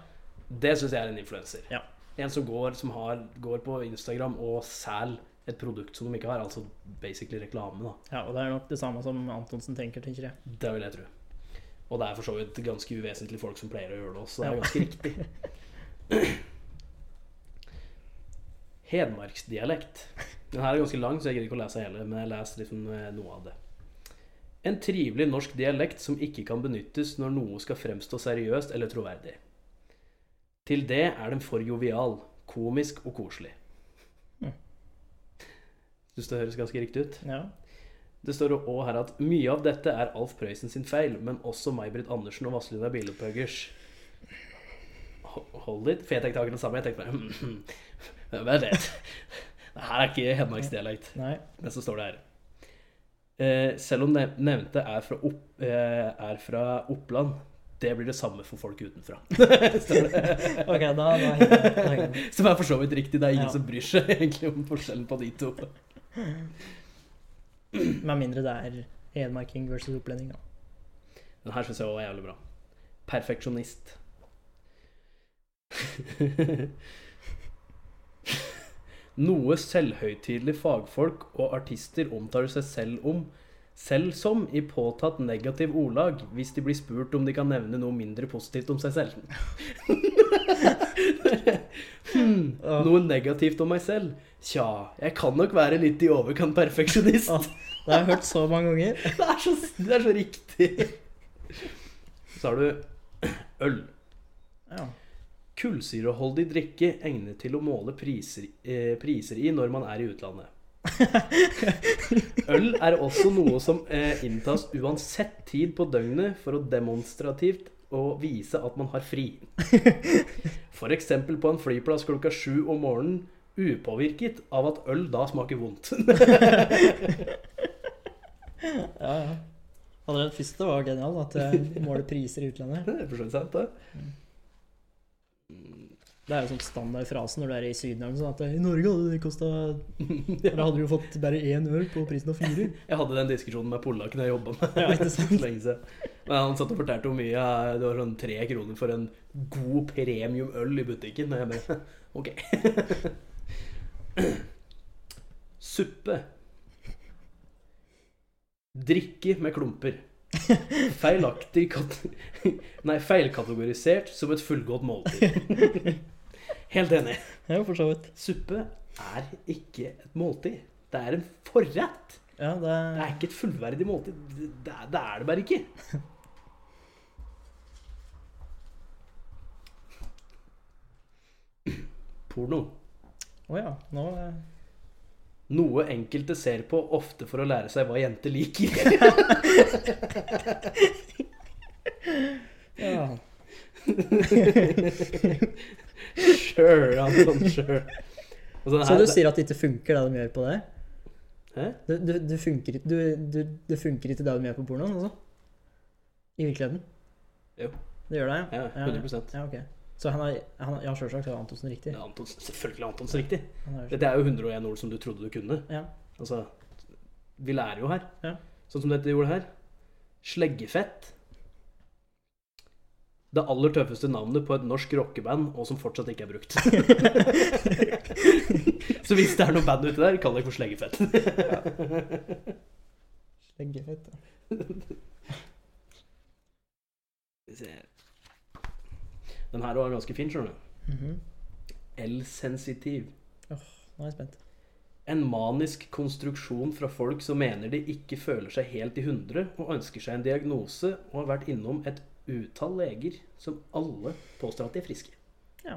Det syns jeg er en influenser. Ja. En som går, som har, går på Instagram og selger et produkt som de ikke har, altså basically reklame, da. Ja, og det er nok det samme som Antonsen tenker, tenker jeg. Det vil jeg tro. Og det er for så vidt ganske uvesentlig folk som pleier å gjøre det også. så Det er Ja. ganske riktig. *clears throat* Hedmarksdialekt. Den her er ganske lang, så jeg gidder ikke å lese hele, men jeg leser liksom eh, noe av det. En trivelig norsk dialekt som ikke kan benyttes når noe skal fremstå seriøst eller troverdig. Til det er den for jovial, komisk og koselig. Mm. Syns det høres ganske riktig ut? Ja. Det står òg her at mye av dette er Alf Prøysen sin feil, men også May-Britt Andersen og Vazelina Bilopphøggers. Ho- Hold litt, for jeg tenkte akkurat det samme. Jeg tenkte bare «Hm, hm, Vent litt. Det her er ikke hedmarksdialekt. Nei. Men så står det her. Eh, selv om nev- nevnte er fra, opp, eh, er fra Oppland, det blir det samme for folk utenfra. *laughs* Står det. OK, da, da henger det- da henger det. *laughs* Som er for så vidt riktig. Det er ingen Ja. som bryr seg egentlig om forskjellen på de to. Med mindre det er hedmarking versus opplending, da. Den her syns jeg også er jævlig bra. Perfeksjonist. *laughs* Noe selvhøytidelige fagfolk og artister omtaler seg selv om Selv som i påtatt negativ ordlag hvis de blir spurt om de kan nevne noe mindre positivt om seg selv. *laughs* hmm, noe negativt om meg selv? Tja, jeg kan nok være litt i overkant perfeksjonist. Åh, Det har jeg hørt så mange ganger. Det er så, det er så riktig. Så har du øl. Ja. Kullsyreholdig drikke egnet til å måle priser, eh, priser i når man er i utlandet. Øl er også noe som eh, inntas uansett tid på døgnet for å demonstrativt å vise at man har fri. F.eks. på en flyplass klokka sju om morgenen, upåvirket av at øl da smaker vondt. *laughs* Ja, ja. Allerede første var genial, at eh, jeg måler priser i utlandet. Det er for så vidt sant, det. Det er jo sånn standardfrasen når du er i Syden. eller noe sånt, At i Norge hadde det kosta *laughs* Eller hadde du jo fått bare én øl på prisen av fire. Jeg hadde den diskusjonen med polakken jeg jobba med. *laughs* Ja, ikke sant? for lenge siden. Men han satt og fortalte hvor mye eh, det var sånn tre kroner for en god premiumøl i butikken. Og jeg bare *laughs* OK. *clears throat* Suppe. Drikke med klumper. Feilaktig kat *laughs* Nei, feilkategorisert som et fullgodt måltid. Helt enig. Ja, for så vidt. Suppe er ikke et måltid. Det er en forrett. Ja, det Det er er ikke et fullverdig måltid. Det, det, er- det er det bare ikke. Porno. Å ja. Nå eh, Noe enkelte ser på ofte for å lære seg hva jenter liker. *laughs* *laughs* Ja. sure, Anton, sure. Og sånn Så her- du sier at det ikke funker, det de gjør på det? Hæ? Du, du, du funker, ikke- du, du, det funker ikke det de gjør på pornoen, altså? I virkeligheten? Jo. Det gjør det, ja? Ja, 100 Ja, ok. Så han er, han er Ja, sjølsagt er Antonsen riktig. ja, Anton, Selvfølgelig er Antons riktig. Han er, Dette er jo 101 ord som du trodde du kunne. ja. Altså, vi lærer jo her. Ja. Sånn som dette gjorde her. Sleggefett. Det aller tøffeste navnet på et norsk rockeband, og som fortsatt ikke er *laughs* brukt. Så hvis det er noe band ute der, kall det for Sleggefett. Sleggefett. ja. Den her var ganske fin, skjønner du. Mhm. L-sensitiv. Nå er jeg spent. En manisk konstruksjon fra folk som mener de ikke føler seg helt i hundre, og ønsker seg en diagnose, og har vært innom et utall leger som alle påstår at de er friske. Ja.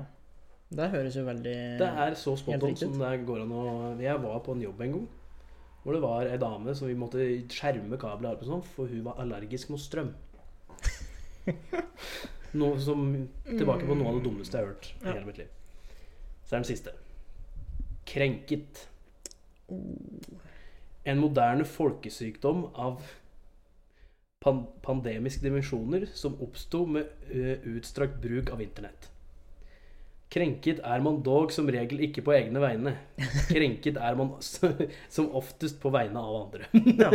Det høres jo veldig Det er så spot Helt on riktig. som det går an å Jeg var på en jobb en gang hvor det var ei dame som vi måtte skjerme kabler og sånn, for hun var allergisk mot *laughs* strøm. Noe som Tilbake på noe av det dummeste jeg har hørt i Ja. hele mitt liv. Så er den siste. Krenket. Oh. En moderne folkesykdom av pan pandemiske dimensjoner som oppsto med ø, utstrakt bruk av internett. Krenket er man dog som regel ikke på egne vegne. Krenket er man s- *laughs* som oftest på vegne av andre. Ja,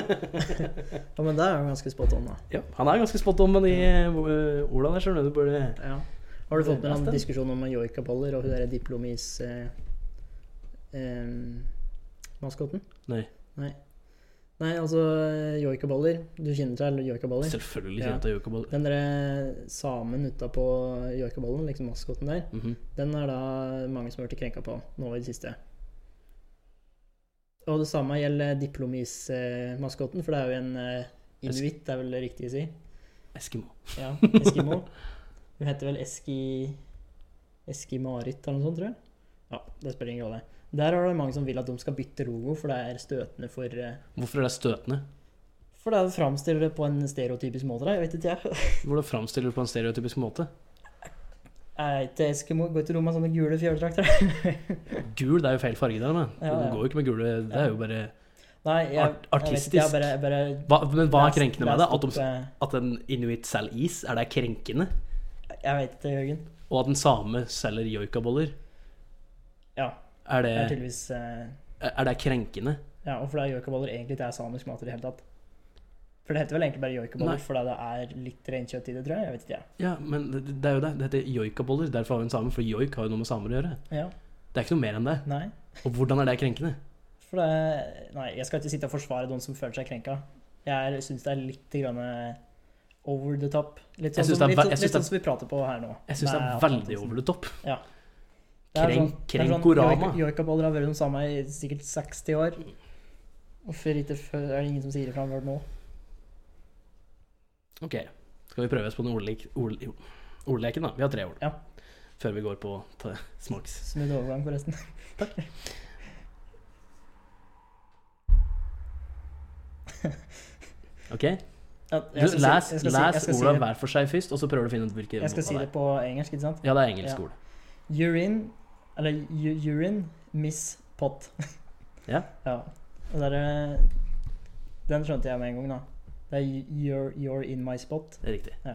men det er jo ganske spot on, da. Ja, han er ganske spot on med de ø, ordene der, skjønner du. Du burde Ja. Har du fått med Lest en den? diskusjon om joikaboller og hun derre diplomis eh, em, maskoten? Nei. Nei. Nei, altså eh, joikaboller. Du kjenner til joikaboller? Selvfølgelig Ja. kjent av Jakob Al- Den derre samen utapå joikabollen, liksom maskoten der, Mhm. den er da mange som har blitt krenka på nå i det siste. Og det samme gjelder diplomis-maskoten, for det er jo en eh, inuitt, det er vel det riktig å si. Eskimo. *laughs* Ja, Eskimo. Hun heter vel Eski... Eski-Marit eller noe sånt, tror jeg. Ja, det spiller ingen rolle. Der er det mange som vil at de skal bytte logo, for det er støtende for eh, Hvorfor er det støtende? For det framstiller det på en stereotypisk måte, da. Jeg vet ikke, jeg. *laughs* Hvordan framstiller du på en stereotypisk måte? Jeg er ikke Eskimo, går ikke rom med sånne gule fjelldrakter. Gul det er jo feil farge der, men. Ja, ja. Du går jo ikke med gule. Det er jo bare *laughs* Nei, jeg, Art- artistisk. Jeg vet ikke, jeg bare, jeg hva, Men hva bare er krenkende med det? At, lest de, opp, at en inuitt selger is, er det krenkende? eh, Jeg vet ikke, Jørgen. Og at en same selger joikaboller, Ja. er det, Det er tydeligvis eh, er det krenkende? Ja, og fordi joikaboller egentlig ikke er samisk mat i det hele tatt. For det heter vel egentlig bare Nei. joikaboller fordi det er litt reinkjøtt i det, tror jeg. Jeg vet ikke, jeg. Ja, men det, det er jo det. Det heter joikaboller. Derfor har vi en same, for joik har jo noe med samer å gjøre. Ja. Det er ikke noe mer enn det. Nei. Og hvordan er det krenkende? For det, nei, jeg skal ikke sitte og forsvare noen som føler seg krenka. Jeg syns det er litt grann eh, over the top. Litt Jeg sånn, synes som, det litt, er ve- sånn- jeg synes litt det er- sånn som vi prater på her nå. Jeg syns det er veldig over the top. Ja. sånn- Krenk, Krenkorama. krenkorama. Joikaboller har vært de samme i sikkert 60 år. Hvorfor ikke før, er det ingen som sier ifra om det nå? Ok, skal vi prøve oss på den ordlek, ord, jo, ordleken da? Vi har tre ord. Ja. Før vi går på ta, smaks. Smooth overgang, forresten. *laughs* Ok? Du, Ja, jeg skal si- les jeg skal si- jeg les skal si ordene det- hver for seg først, og så prøver du å finne ut hvilke Jeg skal måter si det er. på engelsk, ikke sant? Ja, det er engelsk Ja. ord. Urine, eller u- urine, miss pot. Ja. ja. Og der, eh, den skjønte jeg med en gang, da. Det er u- you're, you're in my spot. Det er riktig. Ja.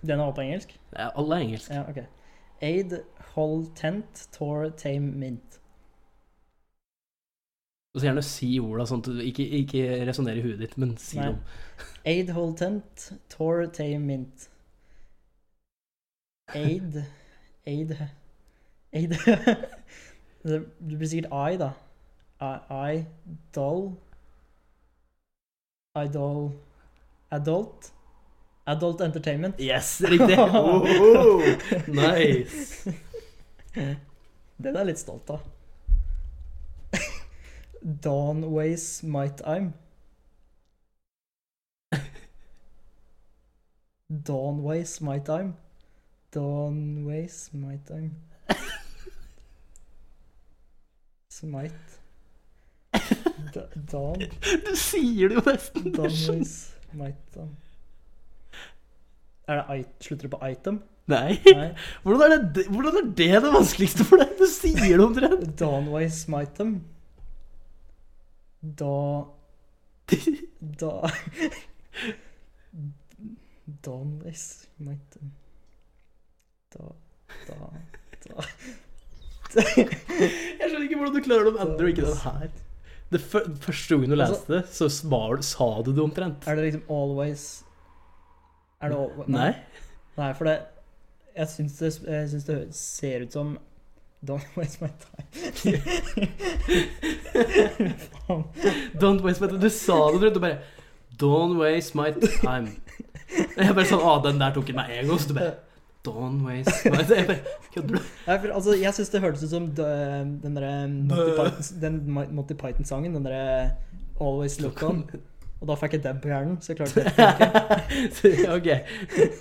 Den er også på engelsk? Det er alle er engelsk. Ja, ok. Aid, hold tent, tor, tame, mint. Og så gjerne si orda sånn at du ikke, ikke resonnerer i huet ditt, men si Nei. dem. Aid, hold tent, tor, tame, mint. Aid, aid, aid. *laughs* Det det blir sikkert I, da. I, I, doll. Idol, adult. Adult entertainment. Yes, riktig! *laughs* Oh, nice! Den er jeg litt stolt av. *laughs* Dawnways Might I'm. *laughs* Dawnways Might I'm. Dawnways Might I'm. *laughs* Smite. Da Dawn. Du sier det jo nesten! Dawnways Might I'm. Er det it Slutter det på item? Nei. Nei. Hvordan er, det, hvordan er det det vanskeligste for deg? Du sier det omtrent! Dawnway smite dem. *laughs* Da Da Dawnway smite dem. Da Da Da Jeg skjønner ikke hvordan du klarer de andre og ikke den her. Altså- Det fø- første gangen du leste det, så var, sa du det omtrent. Er det liksom always Er det always Nei? Nei, for det Jeg syns det, jeg syns det ser ut som Don't waste my time. Faen. Don't waste my time. Du sa det omtrent. Du bare Don't waste my time. Jeg bare sånn Å, den der tok jeg meg en gang. Så du bare Don't waste my time. Jeg bare Kødder du? *laughs* Nei, for, altså, jeg syns det hørtes ut som dø- den derre Monty, Python- den Ma- Monty Python-sangen. Den derre 'Always Look On'. Og da fikk jeg dab på hjernen, så jeg klarte *laughs* det. ikke. Så, OK.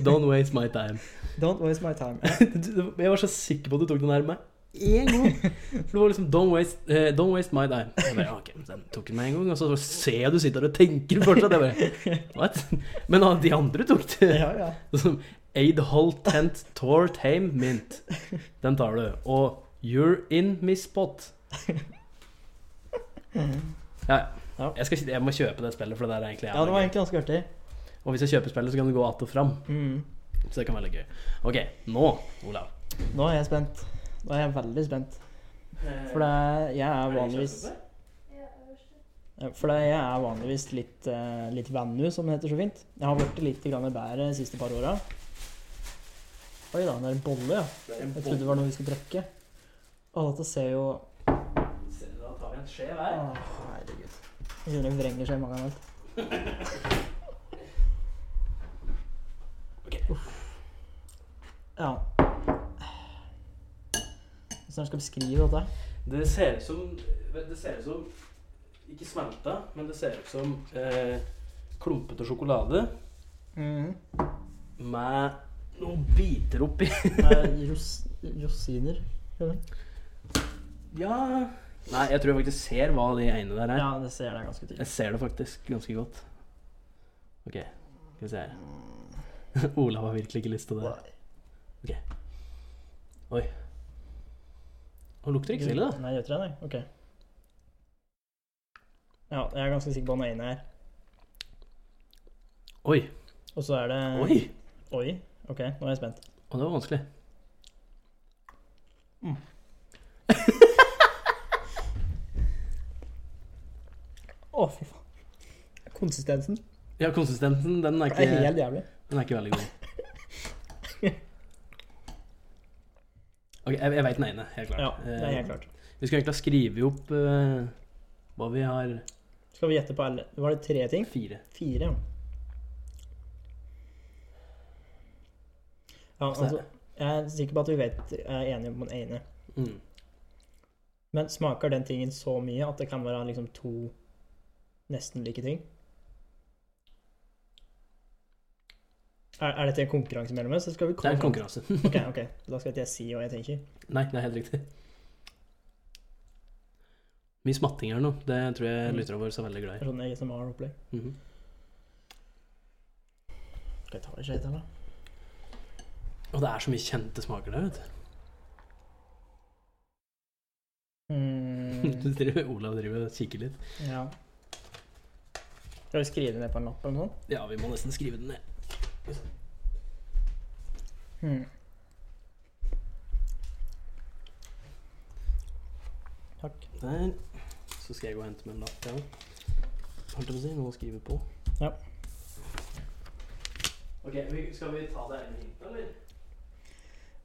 Don't waste my time. Don't waste my *laughs* time. Du- *laughs* Jeg var så sikker på at du tok den her med en gang. For det var liksom Don't waste, eh, don't waste my time. Jeg bare, ok, Den tok den med en gang, og så ser jeg du sitter der og tenker fortsatt. Jeg bare, What? Men ah, de andre tok det. Ja, ja. Som Aid Hall Tent Tor Tame Mint. Den tar du. Og You're In My Spot. Ja, Ja. jeg, skal, jeg må kjøpe det spillet, for det der er egentlig ja, det var egentlig ganske artig. gøy. Og hvis jeg kjøper spillet, så kan det gå att og fram. Mm. Så det kan være litt gøy. Ok, nå, Olav. Nå er jeg spent. Nå er jeg veldig spent. For det, er- jeg er vanligvis For det, jeg er vanligvis litt, uh, litt vennu, som det heter så fint. Jeg har blitt litt grann bedre de siste par åra. Oi da, det er en bolle, ja. Jeg trodde det var noe vi skulle brekke. Å, dette ser jo Da tar vi en skje Å, hver. herregud. Jeg kjenner det vrenger seg i magen. alt. Ok. Uff. Ja. Hvordan skal jeg beskrive dette? Det ser ut som Det ser ut som Ikke smelta, men det ser ut som eh, klumpete sjokolade Mhm. Mm. med noen biter oppi. *laughs* Ros rosiner. eller? ja Nei, jeg tror jeg faktisk ser hva de ene der er. Ja, det ser jeg ganske tydelig. Jeg ser det faktisk ganske godt. OK, skal vi se her. *laughs* Olav har virkelig ikke lyst til det. Og lukter ikke så ille, da. Nei, gjør ikke det, nei. Ok. Ja, jeg er ganske sikker på den ene her. Oi, Og så er det oi! Oi. Ok, nå er jeg spent. Og det var vanskelig. Mm. Å, fy faen. Konsistensen ja, konsistensen, den er er ikke, helt jævlig. den er ikke veldig god. Ok, jeg, jeg veit den ene, helt klart. Ja, det er Eh, helt klart. Vi skulle egentlig ha skrevet opp eh, hva vi har Skal vi gjette på alle Var det tre ting? Fire. Fire, ja. Ja, Altså, altså, jeg er sikker på at vi vet er enige om den ene. Mm. Men smaker den tingen så mye at det kan være liksom to nesten like ting? Er, er dette en konkurranse mellom oss? så Skal vi Det er en komme konkurranse. *laughs* fram- Ok, ok. Da skal ikke jeg si hva jeg tenker. Nei, det er helt riktig. Mye smatting her nå. Det tror jeg Mm. lytterne våre er veldig glad i. Det er sånn ASMR-opplegg. Mhm. Skal jeg ta det skøyta, da? Og det er så mye kjente smaker der, vet du. Mm, *laughs* du. driver- Olav driver og kikker litt. ja. Skal vi skrive det ned på en lapp eller noe sånt? Ja, vi må nesten skrive den ned. Hmm. Takk. Der. Så skal jeg gå og hente meg en lapp. Ja. Holdt jeg på å si noe å skrive på. Ja. Ok, vi- Skal vi ta det ene hintet, eller?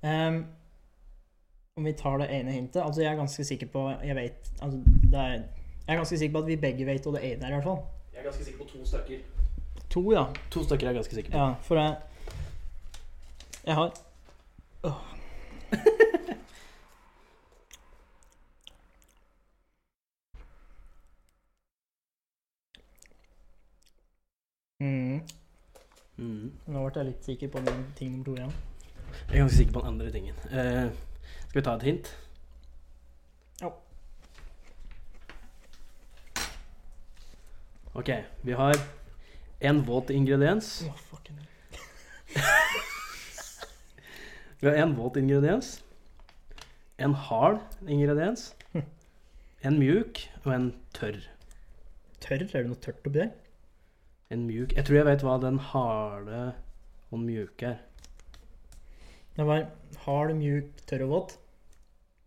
Ehm, om vi tar det ene hintet Altså, jeg er ganske sikker på Jeg vet altså, det er, Jeg er ganske sikker på at vi begge vet hva det ene er, i hvert fall. Jeg er ganske sikker på to stykker. To, ja. To stykker er jeg ganske sikker på. ja for jeg Jeg har Åh. *laughs* Mm. Mhm. Nå ble jeg litt sikker på min ting nummer to igjen. Jeg er ganske sikker på den andre tingen. Eh, skal vi ta et hint? Ja. Ok, vi har en våt ingrediens. Åh, fucking hell. Vi har en våt ingrediens, en hard ingrediens, en mjuk og en tørr. Tørr? Er det noe tørt oppi der? En mjuk Jeg tror jeg vet hva den harde og den mjuke er. Det var hard, mjuk, tørr og våt.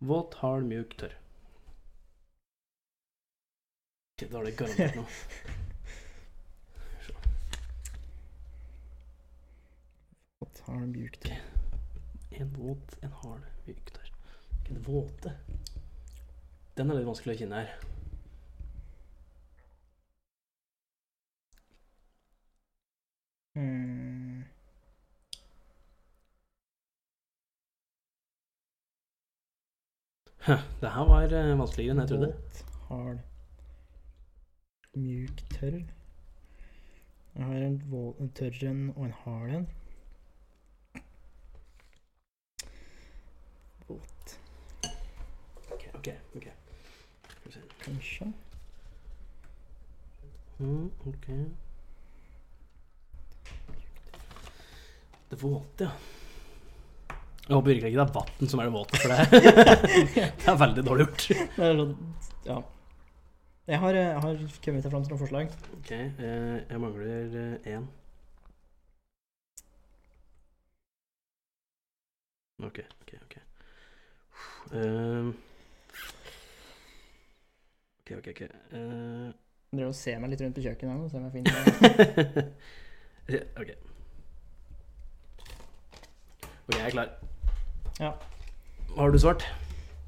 Våt, hard, mjuk, tørr. Ok, Da er det garantert noe. Våt, hard, mjuk, tørr. En våt, en hard, myk der. Ikke det våte. Den er litt vanskelig å kjenne her. Mm. Huh, Det her var eh, vanskeligere enn jeg trodde. Våt, hard, mjuk, tørr. Jeg har en, våt, en tørr en og en hard en. Våt, Ok, ok, ok. Skal vi se. kanskje? Mm, ok. Det våte, ja. Jeg håper virkelig ikke det er vann som er *laughs* det våte, for det er, det er veldig dårlig gjort. Det er sånn, ja. Jeg har, eh, jeg har kommet fram til noen forslag. Ok, eh, jeg mangler eh, én. Ok, ok, ok. Eh, ok, ok, ok. eh. *laughs* Jeg driver og ser meg litt rundt på kjøkkenet her nå, se om jeg finner noe. ok. Ok, jeg er klar. Ja. Hva har du svart?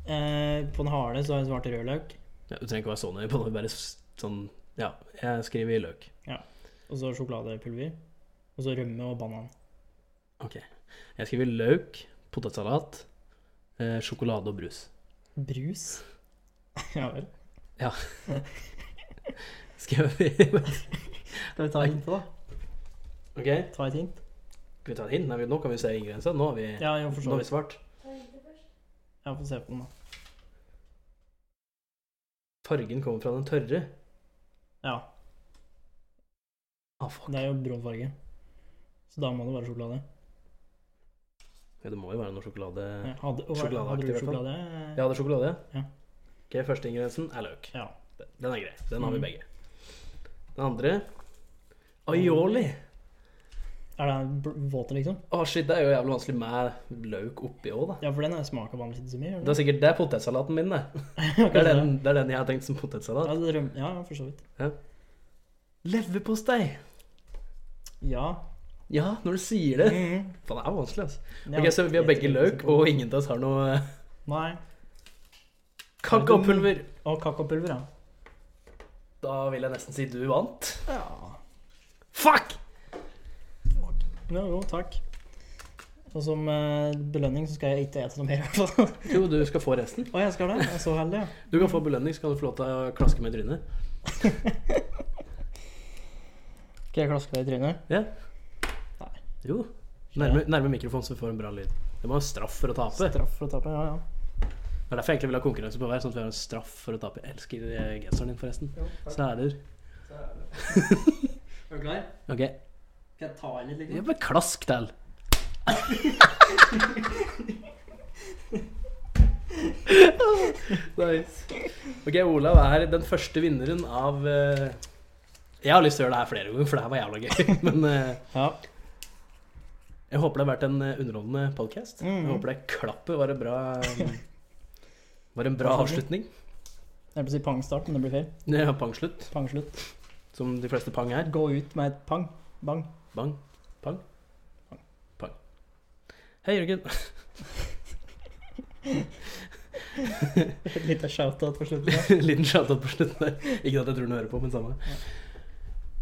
Eh, på den harde så har jeg svart rødløk, Ja, du trenger ikke være så nøye på det, bare s- sånn Ja, jeg skriver løk. og så sjokoladepulver, og så rømme og banan. Jeg skriver løk, potetsalat, eh, sjokolade og brus. Brus? *laughs* ja vel. Skal vi *laughs* Skal vi ta et hint, da? Ok, skal Ta et hint? vi ta et hint? Nei, vi- nå kan vi se ingrediensene. Nå har vi, Ja, jo, for nå så har vi vidt. svart. Ja, få se på den, da. Fargen kommer fra den tørre. Ja, Ah, fuck. det er jo brun farge. Så da må det være sjokolade. Ja, det må jo være noe sjokolade. Hadde, og, Sjokoladeaktig, hadde i du hvert fall. sjokolade? Jeg hadde sjokolade. Ja. Ok, første ingrediensen er løk. Ja. Den er grei. Den har vi Mm. begge. Den andre Aioli. Er den br- våt, liksom? Å, shit, det er jo jævlig vanskelig med løk oppi òg, da. Ja, for den er smaker vanligvis ikke så mye. gjør Det er *laughs* den? sikkert det er potetsalaten min, det. Kanskje Det er den, det er den jeg har tenkt som Ja, potetsalat. det røm- ja, for så vidt. Leverpostei! *laughs* Ja. Ja, når du sier det. Mhm. Faen, det er vanskelig, altså. Det er Ok, så vi har begge vanskelig å løk, se på. og ingen av oss har noe Nei. Kakopulver! Og kakopulver, ja. Da vil jeg nesten si du vant. ja. Fuck! Jo, jo, takk. Og som eh, belønning så skal jeg ikke ete noe mer, i hvert fall. *laughs* Jo, du skal få resten. Å, jeg skal det? Jeg er så heldig, ja. Du kan få belønning, så kan du få lov til å klaske med trynet. Skal jeg klaske deg i trynet? Jo. Nærme, nærme mikrofonen, så vi får en bra lyd. Det må ha straff for å tape. Straff for å tape, ja, ja. Det er derfor jeg egentlig vil ha konkurranse på hver, sånn at vi har en straff for å tape. Jeg elsker eh, genseren din, forresten. Sæler. *laughs* Er du klar? Ok. Skal jeg ta i litt, Ja, men klask til. *laughs* nice. Ok, Olav er den første vinneren av eh, Jeg har lyst til å gjøre det her flere ganger, for det her var jævla gøy. *laughs* Men eh, Ja. jeg håper det har vært en eh, underholdende podkast. Jeg Mhm. håper det klappet var en bra eh, Var en bra avslutning. Jeg vil si pangstart, men det blir feil. Ja, pangslutt, Pangslutt. som de fleste pang er. Gå ut med et pang. Bang. Bang. Pang. Pang. Hei, Jørgen. *laughs* *laughs* Et lite shout-out på slutten. da. Liten shout-out på slutten der. Ikke at jeg tror han hører på, men samme.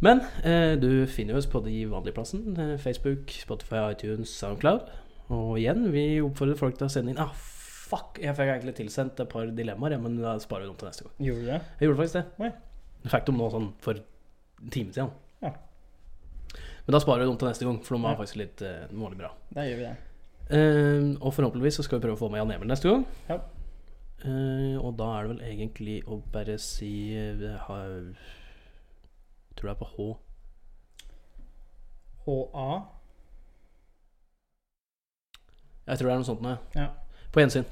Men eh, du finner jo oss på de vanlige plassen. Eh, Facebook, Spotify, iTunes, Soundcloud. Og igjen, vi oppfordrer folk til å sende inn Ah, fuck! Jeg fikk egentlig tilsendt et par dilemmaer, ja, men da sparer vi dem til neste gang. Gjorde du det? Jeg gjorde faktisk det. Oi. Jeg fikk dem nå sånn for en time siden. Ja. Men da sparer vi dem til neste gang, for de var Ja. faktisk litt eh, de var litt bra. Da gjør vi det. Eh, og forhåpentligvis så skal vi prøve å få med Jan Emil neste gang. Ja. Eh, og da er det vel egentlig å bare si eh, vi har, Tror det er på H. HA. Jeg tror det er noe sånt noe. Ja. På gjensyn.